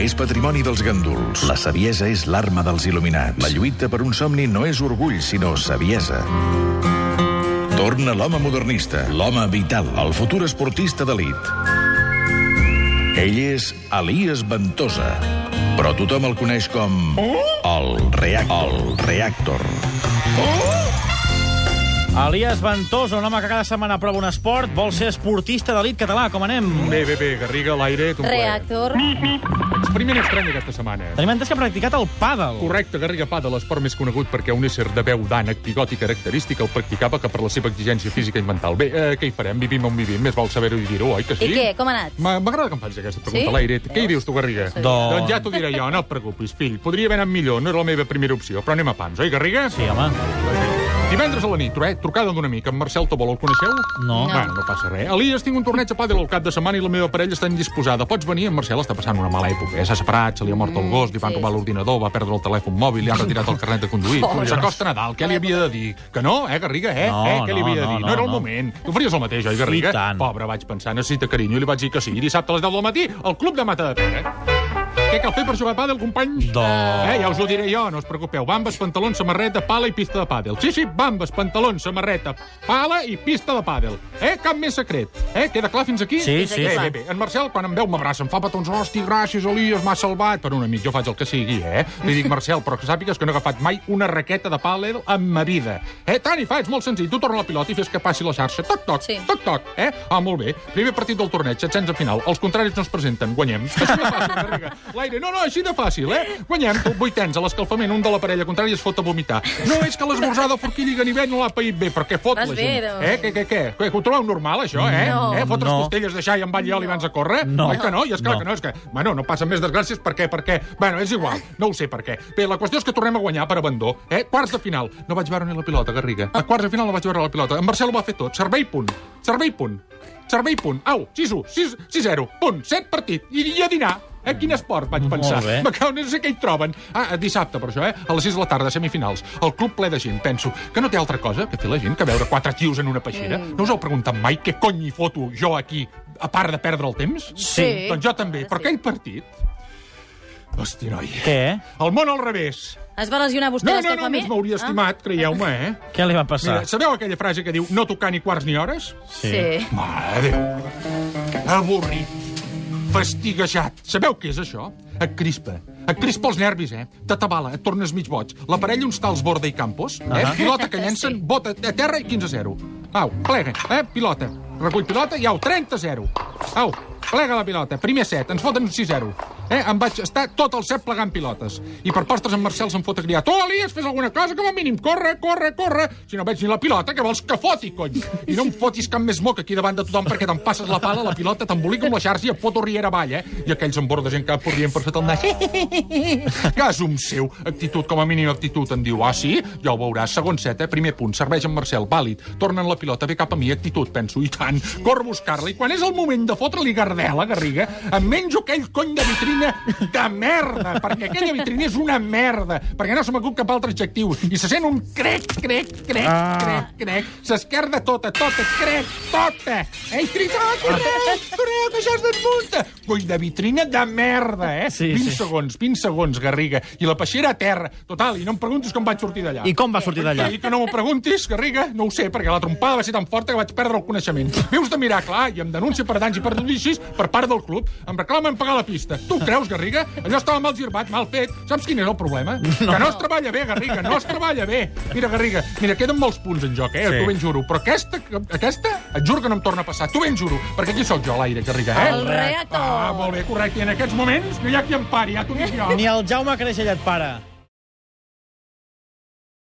és patrimoni dels ganduls. La saviesa és l'arma dels il·luminats. La lluita per un somni no és orgull, sinó saviesa. Torna l'home modernista, l'home vital, el futur esportista d'elit. Ell és Elias Ventosa, però tothom el coneix com... El Reactor. El Reactor. Elias Ventosa, un home que cada setmana prova un esport, vol ser esportista d'elit català. Com anem? Bé, bé, bé, Garriga, l'aire, tu Reactor. Experiment estrany aquesta setmana. Tenim entès que ha practicat el pàdel. Correcte, Garriga Pada, l'esport més conegut perquè un ésser de veu d'ànec, pigot i característica el practicava que per la seva exigència física i mental. Bé, eh, què hi farem? Vivim on vivim, més val saber-ho i dir-ho, oi que sí? I què, com ha anat? M'ha- M'agrada que em facis aquesta pregunta, Sí? sí? l'aire. Què hi dius tu, Garriga? Sí. Doncs- doncs ja t'ho diré jo, no et preocupis, fill. Podria haver anat millor, no era la meva primera opció, però anem a pams, oi, Garriga? Sí, home. Divendres a la nit, eh? trucada d'un amic, en Marcel Tobol, el coneixeu? No. Bueno, no passa res. Elias, tinc un torneig a pàdel al cap de setmana i la meva parella està indisposada. Pots venir? En Marcel està passant una mala època. Eh? S'ha separat, se li ha mort el gos, li van Mm, sí. robar l'ordinador, va perdre el telèfon mòbil, li han retirat el carnet de conduir. S'acosta Nadal, què li havia de dir? Que no, eh, Garriga, eh? No, eh? Què li no, havia de no, dir? no, No, era el no. moment. Tu faries el mateix, oi, Garriga? I tant. Pobre, vaig pensar, necessita carinyo, i li vaig dir que sí. I dissabte a les 10 del matí, al Club de eh? Mata de Pere. Què cal fer per jugar a pàdel, companys? Doncs... Eh, ja us ho diré jo, no us preocupeu. Bambes, pantalons, samarreta, pala i pista de pàdel. Sí, sí, bambes, pantalons, samarreta, pala i pista de pàdel. Eh, cap més secret. Eh, queda clar fins aquí? Sí, sí, Bé, clar. bé, bé. En Marcel, quan em veu, m'abraça, em fa petons. Hosti, gràcies, Elias, m'ha salvat. Per un amic, jo faig el que sigui, eh? Li dic, Marcel, però que sàpigues que no he agafat mai una raqueta de pàdel en ma vida. Eh, tant i fa, ets molt senzill. Tu torna la pilota i fes que passi la xarxa. Toc, toc, Sí. toc, toc. Eh? Ah, molt bé. Primer partit del torneig, setzens de final. Els contraris no es presenten, guanyem. Així de fàcil, Garriga. L'aire, no, no, així de fàcil, eh? Guanyem, vuitens, a l'escalfament, un de la parella contrària es fot a vomitar. No és que l'esmorzar de forquill i ganivet no l'ha paït bé, perquè fot Vas la bé, gent. doncs. eh? Què, què, què? Què, que ho trobeu normal, això, eh? No. eh? Fotre's No. costelles de xai amb ball i oli abans de córrer? No. Oi que no? I és clar No. que no, és que... Bueno, no passen més desgràcies, per què, per què? Bueno, és igual, no ho sé per què. Bé, la qüestió és que tornem a guanyar per abandó, eh? Quarts de final. No vaig veure ni la pilota, Garriga. A quarts de final no vaig veure la pilota. En Marcel ho va fer tot. Servei punt. Servei punt. Servei punt. Au, 6-1, 6 6-0, punt, 7 partit. I, i a dinar. Eh, quin esport, vaig pensar. bé. Me cau, no sé què hi troben. Ah, dissabte, per això, eh? A les 6 de la tarda, semifinals. El club ple de gent. Penso que no té altra cosa que fer la gent que veure quatre tios en una peixera. Mm. No us heu preguntat mai què cony hi foto jo aquí, a part de perdre el temps? Sí. Doncs jo també. Sí. Però aquell partit... Hosti, noi. Què? El món al revés. Es va lesionar vostè No, a no, no, l'escalfament? més Ah. m'hauria estimat, creieu-me, eh? Què li va passar? Mira, sabeu aquella frase que diu no tocar ni quarts ni hores? Ah, Sí. sí. Mare de Déu. Avorrit. Fastiguejat. Sabeu què és això? Et crispa. Et crispa els nervis, eh? T'atabala, et tornes mig boig. La parella uns tals Borda i Campos, eh? Uh Ahà. -huh. Pilota que llencen, Sí. bota a terra i 15 a 0. Au, plega, eh? Pilota. Recull pilota i au, 30 a 0. Au, plega la pilota. Primer set, ens foten un 6 a 0. Eh? Em vaig estar tot el set plegant pilotes. I per postres en Marcel se'n fot a criar. Tu, Elias, fes alguna cosa, que com a mínim. Corre, corre, corre. Si no veig ni la pilota, que vols que foti, cony? I no em fotis cap més moc aquí davant de tothom perquè te'n passes la pala, la pilota t'embolica amb la xarxa i et foto riera avall, eh? I aquells en bordes encara podrien per sota el nas. Gasum seu. Actitud, com a mínim actitud, em diu. Ah, sí? Ja ho veuràs. Segon set, eh? Primer punt. Serveix en Marcel. Vàlid. Tornen la pilota. Ve cap a mi. Actitud, penso. I tant. Cor a buscar-la. I quan és el moment de fotre-li gardela, Garriga, em menjo aquell cony de vitrina de merda. Perquè aquella vitrina és una merda. Perquè no se m'acut cap altre adjectiu. I se sent un crec, crec, crec, Ah. crec, crec. S'esquerda tota, tota, crec, tota. Ei, crida, correu, correu, que això es desmunta. Cony de vitrina de merda, eh? Sí, 20 sí. segons, 20 segons, Garriga, i la peixera a terra. Total, i no em preguntis com vaig sortir d'allà. I com va sortir d'allà? I que no m'ho preguntis, Garriga, no ho sé, perquè la trompada va ser tan forta que vaig perdre el coneixement. Vius de mirar, clar, i em denuncia per danys i per judicis per part del club. Em reclamen pagar la pista. Tu ho creus, Garriga? Allò estava mal girbat, mal fet. Saps quin és el problema? No. Que no es treballa bé, Garriga, no es treballa bé. Mira, Garriga, mira, queden molts punts en joc, eh? Sí. Sí. T'ho ben juro. Però aquesta, aquesta, et juro que no em torna a passar. T'ho ben juro, perquè aquí sóc jo, a l'aire, Garriga, eh? El reactor. Ah, molt bé, correcte. I en aquests moments no hi ha qui em pari, ja t'ho dic jo. Ni el Jaume Creixell et para.